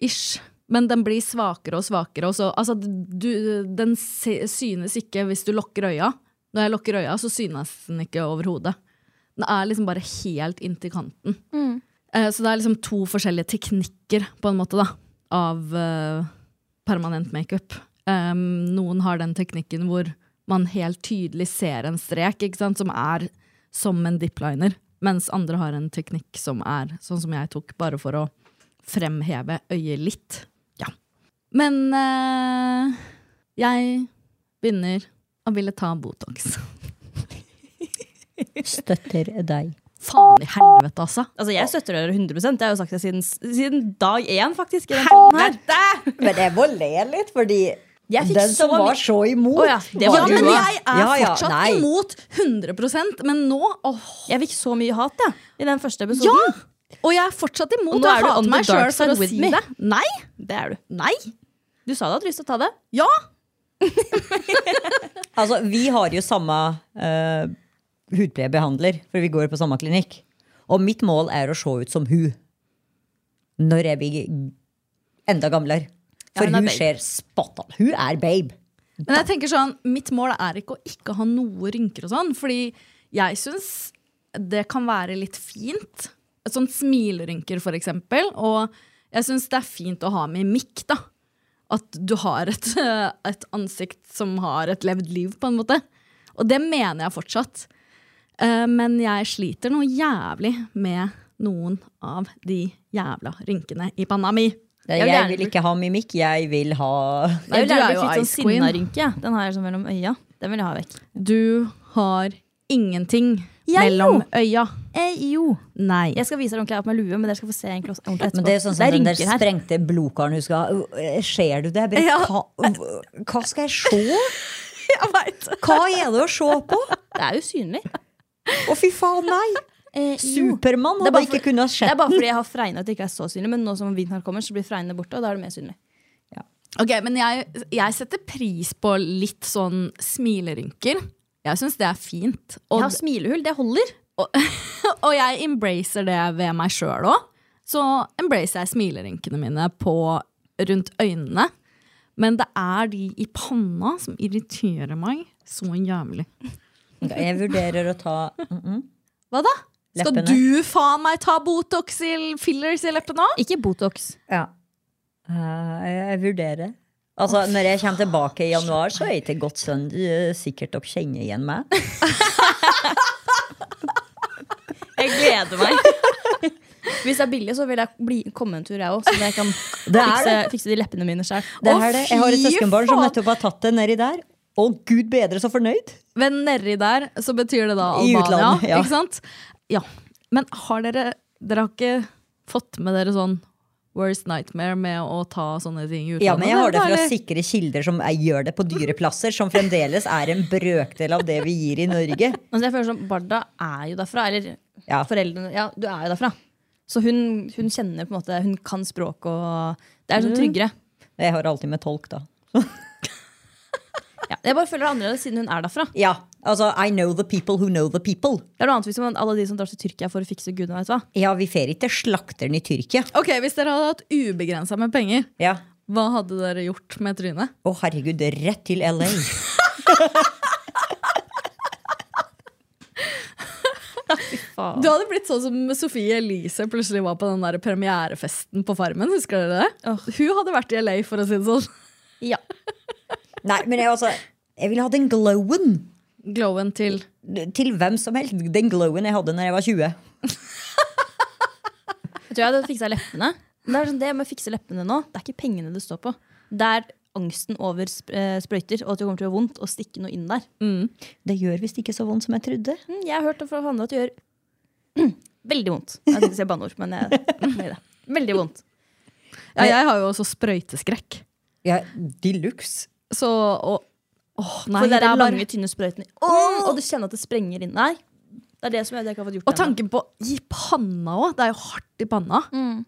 S2: ish. Men den blir svakere og svakere. Og så, altså, du, den se- synes ikke hvis du lukker øya. Når jeg lukker øya, så synes den ikke overhodet. Den er liksom bare helt inntil kanten. Eh, så det er liksom to forskjellige teknikker, på en måte, da, av eh, permanent makeup. Um, noen har den teknikken hvor man helt tydelig ser en strek, ikke sant, som er som en dipliner. Mens andre har en teknikk som er sånn som jeg tok, bare for å fremheve øyet litt. Ja. Men eh, jeg begynner å ville ta Botox.
S3: Støtter deg.
S2: Faen i helvete, altså!
S4: Altså Jeg støtter dere 100 Det har jeg jo sagt det siden, siden dag én, faktisk. I den podden her.
S3: Men jeg må le litt, fordi
S4: Jeg fikk
S3: den som
S4: så mye-
S3: var så imot
S4: Å ja, det
S2: Ja,
S4: var du
S2: men
S4: også.
S2: jeg er
S3: Ja, ja,
S2: fortsatt
S3: nei.
S2: imot 100 men nå åh,
S4: Jeg fikk så mye hat jeg, i den første
S2: Ja!
S4: episoden.
S2: Og jeg er fortsatt imot.
S4: Og nå
S2: og
S4: er du
S2: hater
S4: on the
S2: meg
S4: dark
S2: selv for
S4: side
S2: å
S4: with
S2: si
S4: me.
S2: det. Nei!
S4: Det er du.
S2: Nei!
S4: Du sa du hadde lyst til å ta det.
S2: Ja!
S3: Altså, vi har jo samme eh, hudpleiebehandler, for vi går på samme klinikk. Og mitt mål er å se ut som hun når jeg blir enda gamlere. For
S4: hun er
S3: hun
S4: babe.
S3: ser spot on. Hun er babe.
S2: Men jeg tenker sånn, mitt mål er ikke å ikke ha noe rynker og sånn, fordi jeg syns det kan være litt fint. Sånn smilerynker, for eksempel. Og jeg syns det er fint å ha mimikk, da. At du har et, <laughs> et ansikt som har et levd liv, på en måte. Og det mener jeg fortsatt. Eh, Men jeg sliter noe jævlig med noen av de jævla rynkene i panna mi.
S3: Jeg,
S4: vil gjerne
S3: vil
S4: bli-
S3: ikke ha mimikk, jeg vil ha
S4: Jeg
S2: du
S4: ville
S2: er
S4: gjerne
S2: jo
S4: blitt litt
S2: Ice
S4: sånn
S2: Queen.
S4: sinnarynke. jeg. Den har jeg sånn mellom øya. Den vil jeg ha vekk.
S2: Du har ingenting
S4: Jeg
S2: mellom
S4: jo.
S2: øya.
S4: Eh, jo.
S2: Nei.
S4: Jeg skal vise dere ordentlig av med lue, men dere skal få se egentlig også ordentlig etterpå.
S3: Men det er sånn som den der
S4: rynker her.
S3: sprengte blodkaren hun skal ha. Øh, Ser du det? Jeg Bare,
S2: Ja.
S3: hva, hva skal jeg se?
S2: Jeg veit!
S3: Hva er det å se på?
S4: Det er usynlig.
S3: Å, fy faen, nei!
S4: Eh, jo.
S3: Supermann
S4: Det er
S3: hadde
S4: bare
S3: ikke
S4: for-
S3: kunnet
S4: Det
S3: sett
S4: er bare fordi jeg har fregner at det ikke er så synlig, men nå som vinteren kommer, så blir fregnene borte, og da er det mer synlig.
S2: Ok, Men jeg, jeg setter pris på litt sånn smilerynker. Jeg syns det er fint.
S4: Jeg
S2: Og,
S4: har smilehull, det holder.
S2: og <laughs> jeg embracer det ved meg sjøl òg. Så embracer jeg smilerynkene mine på, rundt øynene. Men det er de i panna som irriterer meg så jævlig.
S3: Jeg vurderer å ta mm-mm.
S2: Hva da?
S3: Leppene.
S2: Skal du faen meg ta Botox i fillers i leppene òg?
S4: Ikke Botox.
S3: Ja. Eh, Jeg vurderer. Altså, Når jeg kommer tilbake i januar, så er ikke godt sønn eh, sikkert dere kjenner igjen meg.
S4: <laughs> Jeg gleder meg. Hvis det er billig, så vil jeg bli, komme en tur, jeg òg. Så jeg
S2: <laughs>
S4: kan fikse, fikse de leppene mine sjøl.
S3: Det er det. Jeg har et
S2: fy
S3: søskenbarn som
S2: faen.
S3: nettopp har tatt det nedi der. Å, gud bedre, så fornøyd!
S2: Ved nedi der så betyr det da
S3: I
S2: Albania.
S3: utlandet, ja.
S2: Ikke sant? Ja. Men har dere Dere har ikke fått med dere sånn worst nightmare med å ta sånne ting i utlandet?
S3: Ja, men jeg har Sånn det fra
S2: eller?
S3: sikre kilder som jeg gjør det på dyre plasser, som fremdeles er en brøkdel av det vi gir i Norge.
S4: Altså, jeg føler som Barda er jo derfra. Eller
S3: Ja.
S4: foreldrene Ja, du er jo derfra. Så hun, hun kjenner på en måte Hun kan språket og Det er sånn
S2: Mm.
S4: tryggere.
S3: Jeg har alltid med tolk, da.
S4: Ja. Jeg bare føler det er annerledes siden hun er derfra.
S3: Ja, altså I know the people who know the people.
S4: Det er noe annet hvis man, alle de som drar til Tyrkia for å fikse gudene, vet du hva.
S3: Ja, vi fer ikke slakteren i Tyrkia.
S2: Ok, Hvis dere hadde hatt ubegrensa med penger,
S3: Ja.
S2: hva hadde dere gjort med trynet?
S3: Å herregud, det er rett til LA.
S2: Du hadde blitt sånn som Sofie Elise plutselig var på den der premierefesten på Farmen. husker dere det? Hun hadde vært i LA, for å si det sånn.
S4: Ja.
S3: Nei, men jeg, altså, jeg ville hatt den glowen.
S2: Glowen til
S3: Til hvem som helst. Den glowen jeg hadde når jeg var 20.
S4: Jeg tror jeg hadde fiksa leppene. Men det er sånn det med å fikse leppene nå, det er ikke pengene det står på. Det er angsten over sp eh, sprøyter og at det kommer til å gjøre vondt å stikke noe inn der.
S3: Det gjør visst ikke så vondt som jeg trodde.
S4: Mm, Jeg har hørt det fra Hanne at det gjør <clears throat> veldig vondt. Jeg tenkte å si banneord, men jeg <laughs> Mm, nei da. Veldig vondt.
S2: Ja, jeg har jo også sprøyteskrekk.
S3: Ja, De luxe.
S2: Så og, åh, nei,
S4: For det
S2: det
S4: er
S2: er
S4: lange,
S2: bare
S4: tynne sprøytene. Åh, og du kjenner at det sprenger inn. Nei. Det er det som gjør at jeg ikke har fått gjort
S2: Og
S4: det ennå.
S2: tanken på i panna òg. Det er jo hardt i panna.
S3: Mm.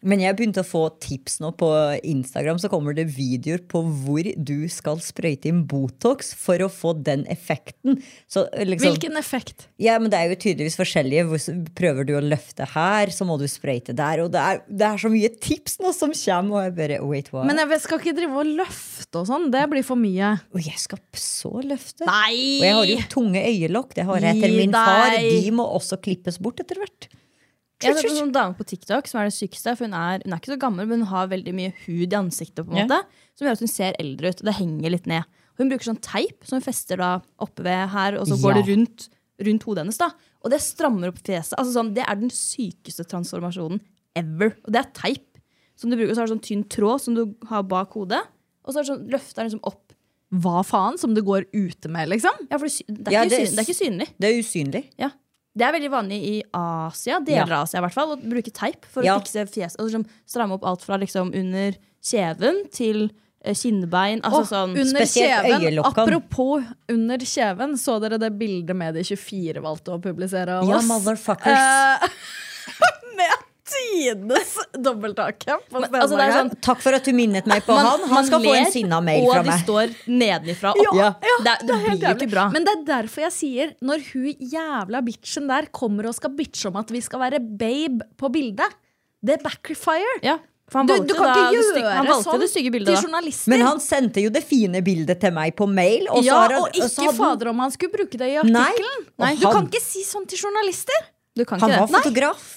S3: Men jeg begynte å få tips nå på Instagram, så kommer det videoer på hvor du skal sprøyte inn Botox for å få den effekten. Så, liksom,
S2: Hvilken effekt?
S3: Ja, men Det er jo tydeligvis forskjellige. Hvor- Prøver du å løfte her, så må du sprøyte der. Og det er, det er så mye tips nå som kommer, og jeg bare Wait, what?
S2: Men jeg vet- skal ikke drive og løfte og sånn. Det blir for mye.
S3: og jeg skal så løfte. Og jeg har
S2: Nei!
S3: jo tunge øyelokk. Det har jeg etter
S2: Gi
S3: min far.
S2: deg.
S3: De må også klippes bort etter hvert.
S4: Jeg har sett en sånn dame på TikTok som er det sykeste. For hun er, hun er ikke så gammel, men hun har veldig mye hud i ansiktet på en måte, som gjør at hun ser eldre ut. Og det henger litt ned. Hun bruker sånn teip som hun fester da oppe ved her, og så går
S3: Ja.
S4: det rundt, rundt hodet hennes. da Og det strammer opp fjeset. Altså sånn, Det er den sykeste transformasjonen ever. Og det er teip. Som du bruker, og så har du sånn tynn tråd som du har bak hodet, og så er det sånn, løfter den liksom opp.
S2: Hva faen? Som du går ute med, liksom?
S4: Ja, for det, sy- det, er
S3: Ja,
S4: ikke
S3: det er
S4: syn, det er ikke synlig.
S3: Det er usynlig.
S4: Ja. Det er veldig vanlig i Asia, deler
S3: Ja.
S4: av Asia i hvert fall, å bruke teip for
S3: Ja.
S4: å fikse fjes. Og liksom stramme opp alt fra liksom under kjeven til eh, kinnbein. Altså
S2: Åh,
S4: sånn
S2: under
S3: spesielt
S2: kjeven,
S3: øyelokkene.
S2: apropos under kjeven, så dere det bildet med de 24 valgte å publisere av
S3: Ja,
S2: oss?
S3: motherfuckers.
S2: Eh, <laughs> med tidenes dobbelthake på
S4: Men, altså, det er
S2: Stenmarken.
S4: sånn-
S3: Takk for at du minnet meg på han. Han skal få en sinna mail
S4: og
S3: fra
S4: de
S3: meg.
S4: står nedenifra og opp.
S3: Ja.
S4: det, er- det
S2: helt
S4: blir jo
S2: jævlig.
S4: ikke bra.
S2: Men det er derfor jeg sier, når hun jævla bitchen der kommer og skal bitche om at vi skal være babe på bildet, det er backfire.
S4: ja, for han
S2: Du,
S4: valgte,
S2: du kan
S4: da,
S2: ikke
S4: det
S2: gjøre
S4: stygge- han valgte
S2: sånn
S4: det stygge bildet,
S2: til
S4: da.
S2: journalister.
S3: Men han sendte jo det fine bildet til meg på mail. Og så
S2: ja,
S3: har han,
S2: og
S3: så hadde
S2: ikke
S3: han-
S2: fader om han skulle bruke det i
S3: Nei,
S2: artikkelen.
S3: og
S2: Du
S3: han-
S2: kan ikke si sånn til journalister.
S4: Du kan
S3: Han
S4: ikke
S3: var
S4: det.
S3: fotograf.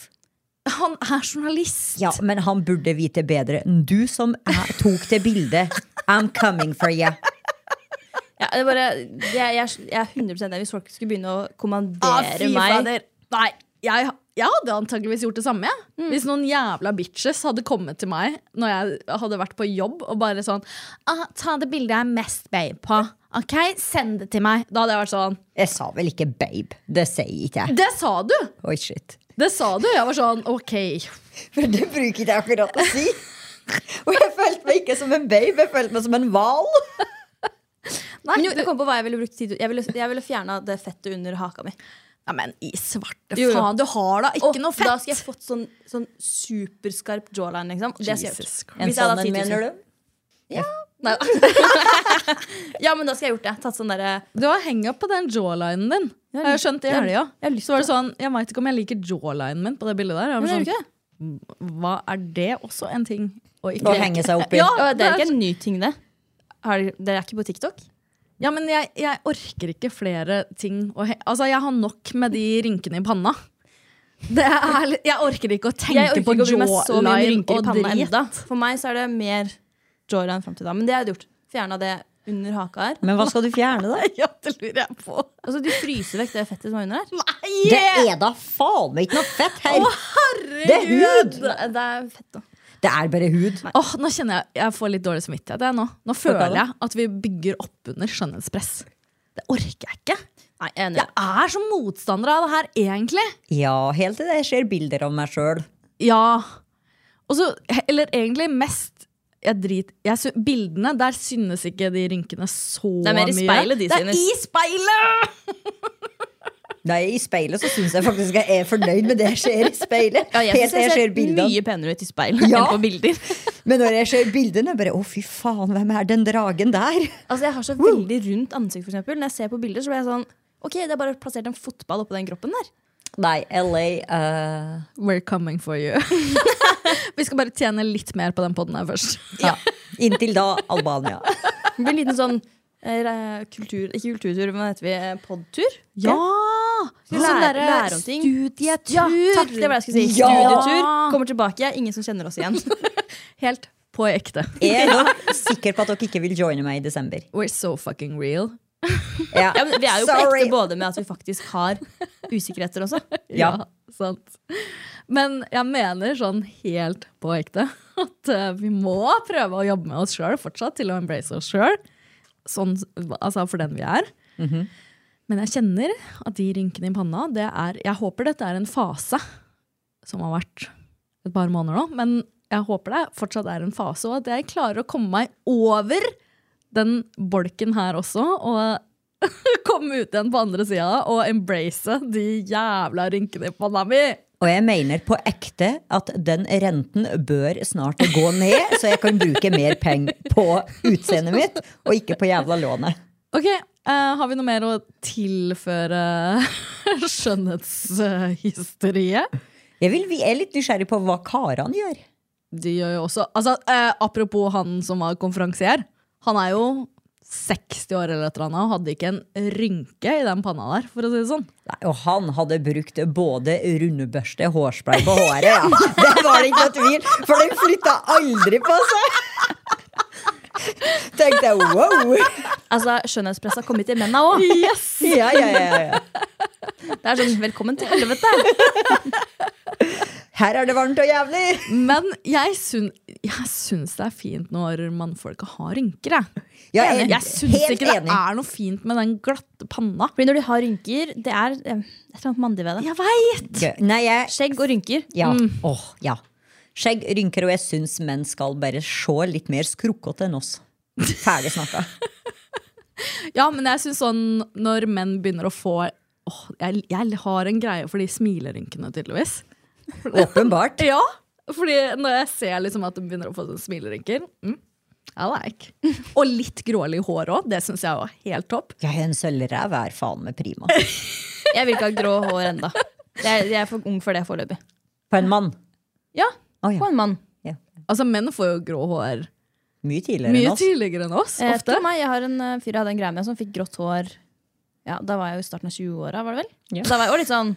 S2: Han er journalist.
S3: Ja, men han burde vite bedre enn du som er- tok det bildet. I'm coming for you.
S4: Ja, det er bare, jeg, jeg, jeg er 100 enig hvis folk skulle begynne å
S2: Ah,
S4: kommandere
S2: fy
S4: meg.
S2: fader. Nei, jeg, jeg hadde antageligvis gjort det samme. jeg.
S3: Mm.
S2: Hvis noen jævla bitches hadde kommet til meg når jeg hadde vært på jobb og bare sånn ah, 'Ta det bildet jeg er mest babe på. Ok, Send det til meg.' Da hadde jeg vært sånn
S3: Jeg sa vel ikke babe. Det sier ikke jeg.
S2: Det sa du!
S3: Oi, shit.
S2: Det sa du. Jeg var sånn OK.
S3: For det bruker ikke jeg akkurat å si. Og jeg følte meg ikke som en babe, jeg følte meg som en hval.
S2: Nei,
S4: Men jo,
S2: du,
S4: det kom på hva jeg ville brukt tid til. Jeg ville, jeg ville fjerna det fettet under haka mi.
S2: ja, men i svarte
S4: Jo, jo.
S2: faen, du har da ikke
S4: Og
S2: noe
S4: Da skal jeg
S2: fett!
S4: fått sånn, sånn superskarp jawline. Liksom. Det skal jeg gjort.
S2: Jesus
S3: En
S4: Hvis jeg
S3: sånn
S4: hadde hatt
S3: en,
S4: 10 000.
S3: mener du?
S4: Nei da. <laughs> ja, men da skal jeg gjort det. Tatt sånn derre
S2: Du har henga på den jawlinen din. Jeg har skjønt det i
S4: jeg-
S2: helga.
S4: jeg har lyst
S2: Så var det sånn, jeg veit ikke om jeg liker jawlinen min på det bildet der. Jeg var
S4: Men
S2: sånn,
S4: er det ikke det?
S2: Hva er det også en ting å ikke
S3: Å henge seg opp i.
S4: Ja,
S2: Ja,
S4: det er ikke en ny ting, det. Har dere- Dere er ikke på TikTok?
S2: Ja, men jeg, jeg orker ikke flere ting å he Altså, jeg har nok med de rynkene i panna. Det er, litt- jeg orker ikke å tenke
S4: Jeg orker
S2: på
S4: ikke å bli med så mye
S2: jawline
S4: rynker i
S2: og
S4: panna
S2: drit.
S4: enda. For meg så er det mer jawline fram til da. Men det har jeg gjort. Fjerna det under haka her.
S3: Men hva skal du fjerne,
S4: <laughs>
S3: da?
S2: Ja, det lurer jeg på.
S4: Altså, du fryser vekk det fettet som er under her.
S2: Nei!
S3: Det er da faen meg ikke noe fett her! Det er hud!
S4: Det, det er fett, da.
S3: Det er bare hud.
S2: Åh, nå kjenner jeg jeg får litt dårlig samvittighet. Jeg, nå. nå føler jeg at vi bygger opp under skjønnhetspress. Det orker jeg ikke.
S4: Nei, jeg er enig.
S2: Jeg er så motstander av det her, egentlig.
S3: Ja, helt til det jeg ser bilder av meg sjøl.
S2: Ja. Og så, eller egentlig mest jeg drit, jeg, sy- Bildene, der synes ikke de rynkene så mye.
S4: Det er mer i speilet de
S2: Det er
S4: synes.
S2: i speilet!
S4: <laughs>
S3: Nei, i speilet så syns jeg faktisk jeg er fornøyd med det jeg ser i speilet.
S4: Ja, jeg
S3: Helt
S4: synes
S3: til jeg
S4: jeg
S3: ser
S4: ser
S3: bildene.
S4: mye penere ut i speilet
S3: Ja.
S4: enn på
S2: <laughs>
S4: bilder.
S3: Men når jeg ser bildene, bare å fy faen, hvem er den dragen der?
S4: Altså Jeg har så veldig rundt ansikt, for eksempel. Når jeg ser på bilder, så blir jeg sånn Ok, det er bare plassert en fotball oppå den kroppen der.
S3: Nei, LA eh,
S2: We're coming for you. Vi skal bare tjene litt mer på den poden her først.
S3: ja. Inntil da Albania.
S4: Det blir en liten sånn eh, kultur, ikke kulturtur, men hva heter vi? eh, Podtur?
S2: Ja! Sånn
S4: Lære-
S2: derre
S4: lære om ting.
S2: Studietur!
S4: Ja, takk, det var det jeg skulle si.
S3: Ja!
S4: Studietur. Kommer tilbake. Ingen som kjenner
S2: <laughs>
S4: oss igjen.
S2: Helt på ekte.
S3: Jeg er nok sikker på at dere ikke vil joine meg i desember.
S2: We're so fucking real.
S3: Ja.
S4: Ja, men vi er jo på
S3: Sorry.
S4: ekte både med at vi faktisk har usikkerheter også.
S2: <laughs>
S3: Ja.
S2: sant. Men jeg mener sånn helt på ekte at eh, vi må prøve å jobbe med oss sjøl fortsatt, til å embrace oss sjøl. Sånn, altså for den vi er. Men jeg kjenner at de rynkene i panna det er, Jeg håper dette er en fase som har vært et par måneder nå. Men jeg håper det fortsatt er en fase, og at jeg klarer å komme meg over den bolken her også. Og komme ut igjen på andre sida og embrace de jævla rynkene i panna mi.
S3: Og jeg mener på ekte at den renten bør snart gå ned, så jeg kan bruke mer penger på utseendet mitt, og ikke på jævla lånet.
S2: Ok, eh, Har vi noe mer å tilføre <laughs> skjønnhetshysteriet?
S3: Jeg, vil, jeg er litt nysgjerrig på hva karene gjør.
S2: De gjør jo også altså, eh, Apropos han som var konferansier. Han er jo 60 år eller et eller annet og hadde ikke en rynke i den panna der. for å si det sånn.
S3: Nei, og han hadde brukt både rundebørste og hårspray på håret. Ja. Det var det ikke noe tvil, for den flytta aldri på seg! Tenkte jeg wow!
S4: Altså, Skjønnhetspress har kommet til menna òg.
S2: Yes!
S3: Ja, ja, ja, ja.
S4: Det er sånn velkommen til helvete.
S3: Her er det varmt og jævlig!
S2: Men jeg, syn, jeg syns det er fint når mannfolka har rynker. Jeg,
S3: Ja, jeg er
S2: jeg syns
S3: helt
S2: ikke
S3: enig.
S2: det er noe fint med den glatte panna.
S4: Fordi når de har rynker, det er eh, et eller annet mandig ved det.
S2: Jeg veit!
S3: Nei, jeg
S4: Skjegg og rynker.
S3: Ja. Åh, ja. Skjegg, rynker, og jeg syns menn skal bare se litt mer skrukkete enn oss. Ferdig snakka. <laughs>
S2: Ja, men jeg synes sånn når menn begynner å få åh, jeg, jeg har en greie for de smilerynkene, tydeligvis.
S3: Åpenbart.
S2: Ja, fordi når jeg ser liksom at de begynner å få sånne smilerynker mm, I <laughs> like. Og litt grålig hår òg. Det syns jeg var helt topp.
S3: Jeg er en sølvrev, er faen meg prima.
S4: <laughs> Jeg vil ikke ha grå hår enda Jeg, jeg er for ung for det foreløpig.
S3: På en mann.
S4: Ja,
S3: Å,
S4: på
S3: ja.
S4: en mann.
S2: Altså, menn får jo grå hår
S3: Mye tidligere
S2: mye
S3: enn oss.
S2: tidligere enn oss.
S4: Eh,
S2: ofte.
S4: til meg, jeg har en eh, fyr jeg hadde en greie med som fikk grått hår Ja, Da var jeg jo i starten av 20-åra, var det vel? Da var jeg jo litt sånn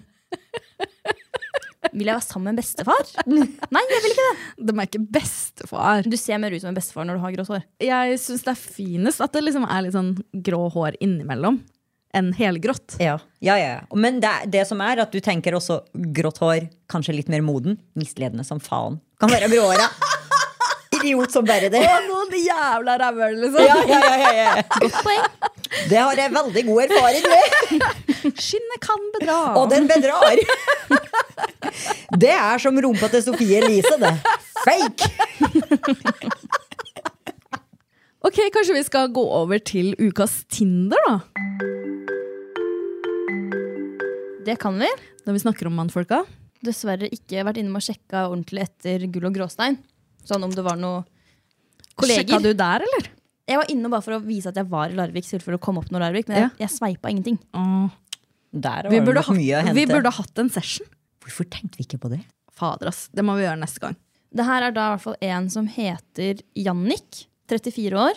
S4: Vil jeg være sammen med en bestefar?
S2: <laughs>
S4: Nei, jeg vil ikke det.
S2: De er ikke bestefar.
S4: Du ser mer ut som en bestefar når du har grått hår.
S2: Jeg syns det er finest at det liksom er litt sånn grå hår innimellom enn helgrått.
S3: Ja. Ja, ja, ja. Men det, det som er at du tenker også grått hår, kanskje litt mer moden. Misledende som faen. Kan være gråhåra. <laughs> Idiot som bare det.
S2: Å, noen jævla rævhøl, liksom!
S3: Ja, ja, ja, ja, ja.
S4: Godt poeng.
S3: Det har jeg veldig god erfaring med.
S2: Skinnet kan bedra.
S3: Og den bedrar. <laughs> Det er som rumpa til Sofie Elise, det. Fake!
S2: Ok, Kanskje vi skal gå over til ukas Tinder, da?
S4: Det kan vi.
S2: Når vi snakker om mannfolka.
S4: Dessverre ikke vært inne med å sjekke ordentlig etter gull og gråstein. Sånn om det var noe kolleger.
S2: Sjekka du der, eller?
S4: Jeg var inne bare for å vise at jeg var i Larvik, selvfølgelig for å komme opp noe Larvik, men
S2: Ja.
S4: jeg, jeg sveipa ingenting.
S3: Der var
S2: Vi
S3: det
S2: burde,
S3: nok mye å
S2: hatt,
S3: hente.
S2: vi burde hatt en session.
S3: Hvorfor tenkte vi ikke på det?
S2: Fader, ass. Det må vi gjøre neste gang.
S4: Det her er da i hvert fall en som heter Jannik. 34 år.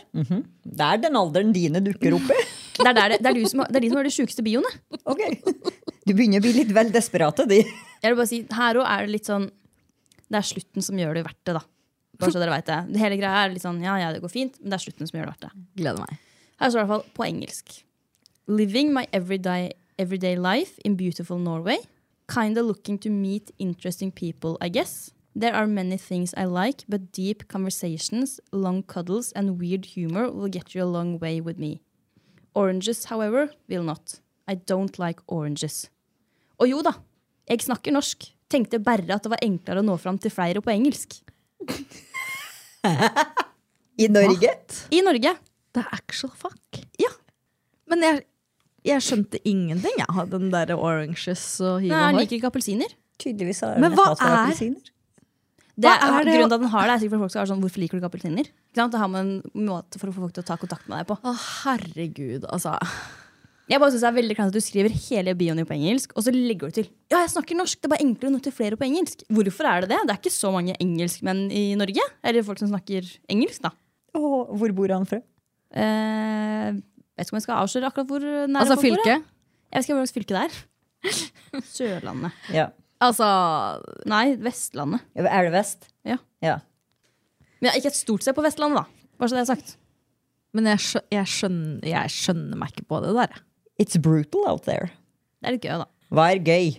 S3: Det er den alderen dine dukker opp i.
S4: Det er, der det, det er, du som, har- det er de som har de sjukeste bioene.
S3: <laughs> Ok. Du begynner å bli litt vel desperate, de.
S4: Jeg vil bare si, Her òg er det litt sånn Det er slutten som gjør det verdt det, da. Bare så dere vet det. Hele greia er litt sånn ja, ja, det går fint, men det er slutten som gjør det verdt det.
S2: Gleder meg.
S4: Her står det Altså, i hvert fall på engelsk. Living my everyday, everyday life in beautiful Norway. Kinda looking to meet interesting people, I guess. There are many things I like, but deep conversations, long cuddles and weird humor will get you a long way with me. Oranges, however, will not. I don't like oranges. Og jo da, jeg snakker norsk. Tenkte bare at det var enklere å nå fram til flere på engelsk.
S3: I Norge?
S4: I Norge.
S2: Det er actual fuck.
S4: Ja.
S2: Men jeg, jeg skjønte ingenting, jeg, av den der oranges og hiv
S4: Nei,
S2: og
S4: han
S2: hoi.
S4: liker ikke appelsiner.
S3: Tydeligvis har
S2: Men
S3: den
S2: hva
S3: hatt for
S2: er-
S3: appelsiner.
S4: Det er,
S2: Hva er det å-
S4: grunnen til at den har det, er sikkert for folk som er sånn Hvorfor liker du ikke appelsiner? Ikke sant? Da har man en måte for å få folk til å ta kontakt med deg på.
S2: Å, herregud, altså.
S4: Jeg bare synes det er veldig klart at Du skriver hele bioen din på engelsk, og så legger du til Ja, jeg snakker norsk, det er bare enklere å nå til flere på engelsk. Hvorfor er det det? Det er ikke så mange engelskmenn i Norge. Eller folk som snakker engelsk, da.
S3: Og hvor bor han fra?
S4: Eh, vet ikke om jeg skal avsløre akkurat hvor nær
S2: Altså
S4: folk bor, jeg.
S2: fylke?
S4: Jeg vet ikke hva slags fylke det er. Sørlandet.
S3: Ja.
S2: Altså
S4: Nei, Vestlandet.
S3: Er det vest?
S4: Ja.
S3: ja.
S4: Men ikke et stort sted på Vestlandet, da. Bare så det er sagt.
S2: Men jeg, skjø- jeg, skjønner, jeg skjønner meg ikke på det der. jeg.
S3: It's brutal out there.
S4: Det er litt gøy, da.
S3: Hva er gøy?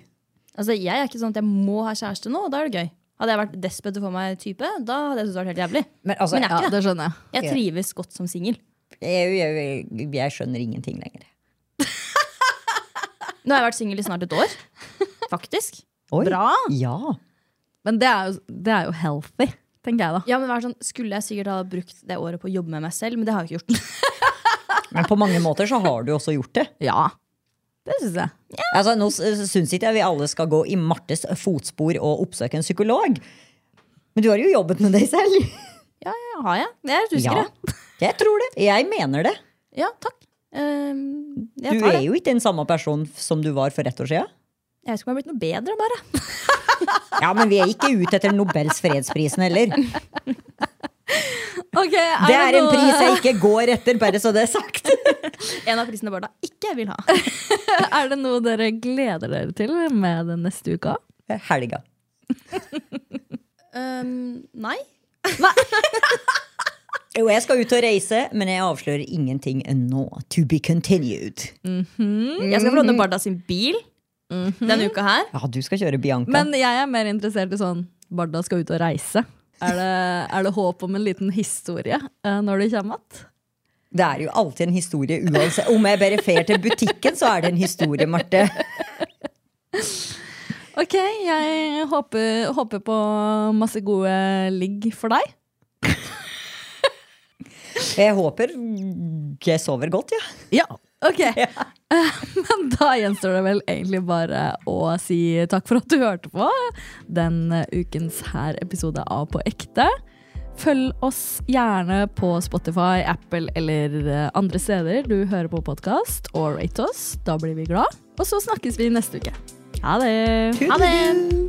S4: Altså, jeg er ikke sånn at jeg må ha kjæreste nå, og da er det gøy. Hadde jeg vært desperate for meg type, da hadde jeg syntes det vært helt jævlig.
S3: Men altså,
S4: Men jeg-
S2: Ja,
S4: Ikke det.
S2: det skjønner jeg.
S4: Jeg trives godt som singel.
S3: jeg, jeg, jeg, jeg skjønner ingenting lenger.
S4: Nå har jeg vært singel i snart
S3: <laughs>
S4: et år. Faktisk.
S3: Oi.
S2: Bra!
S3: Ja.
S2: Men det er jo, det er jo healthy, tenker jeg da.
S4: Ja, men vær sånn, Skulle jeg sikkert ha brukt det året på å jobbe med meg selv, men det har jeg ikke gjort. <laughs>
S3: Men på mange måter så har du også gjort det.
S2: Ja, det syns jeg.
S3: Altså, nå syns ikke jeg vi alle skal gå i Martes fotspor og oppsøke en psykolog. Men du har jo jobbet med deg selv.
S4: Ja, ja, har jeg? Jeg er litt usikker, jeg.
S3: Jeg tror det. Jeg mener det.
S4: Ja, takk. Ehm, jeg
S3: Du
S4: tar
S3: er
S4: det.
S3: jo ikke den samme personen som du var for ett år siden.
S4: Jeg vet ikke om jeg har blitt noe bedre, bare.
S3: <laughs> Ja, men vi er ikke ute etter Nobels fredsprisen heller. Det er en pris jeg ikke går etter, bare så det er sagt.
S4: <laughs> En av prisene barna ikke vil ha.
S2: Er det noe dere gleder dere til med den neste uka?
S3: Helga.
S4: Ehm, nei.
S3: Jo, jeg skal ut og reise, men jeg avslører ingenting nå. To be continued.
S4: Jeg skal få
S3: Mm.
S4: låne Barda sin bil
S3: Mhm.
S4: denne uka her.
S3: Ja, du skal kjøre Bianca.
S2: Men jeg er mer interessert i sånn Barda skal ut og reise. Er det, er det håp om en liten historie eh, når du kommer igjen?
S3: det er jo alltid en historie uansett. Om jeg bare fer til butikken, så er det en historie, Marte.
S2: Ok, jeg håper, håper på masse gode ligg for deg. <laughs>
S3: Jeg håper jeg sover godt, ja.
S2: Ja. Ok. Eh, Men da gjenstår det vel egentlig bare å si takk for at du hørte på den ukens her episode av På ekte. Følg oss gjerne på Spotify, Apple eller eh, andre steder du hører på podkast, og rate oss. Da blir vi glad. Og så snakkes vi neste uke. Ha det!
S4: Ha det!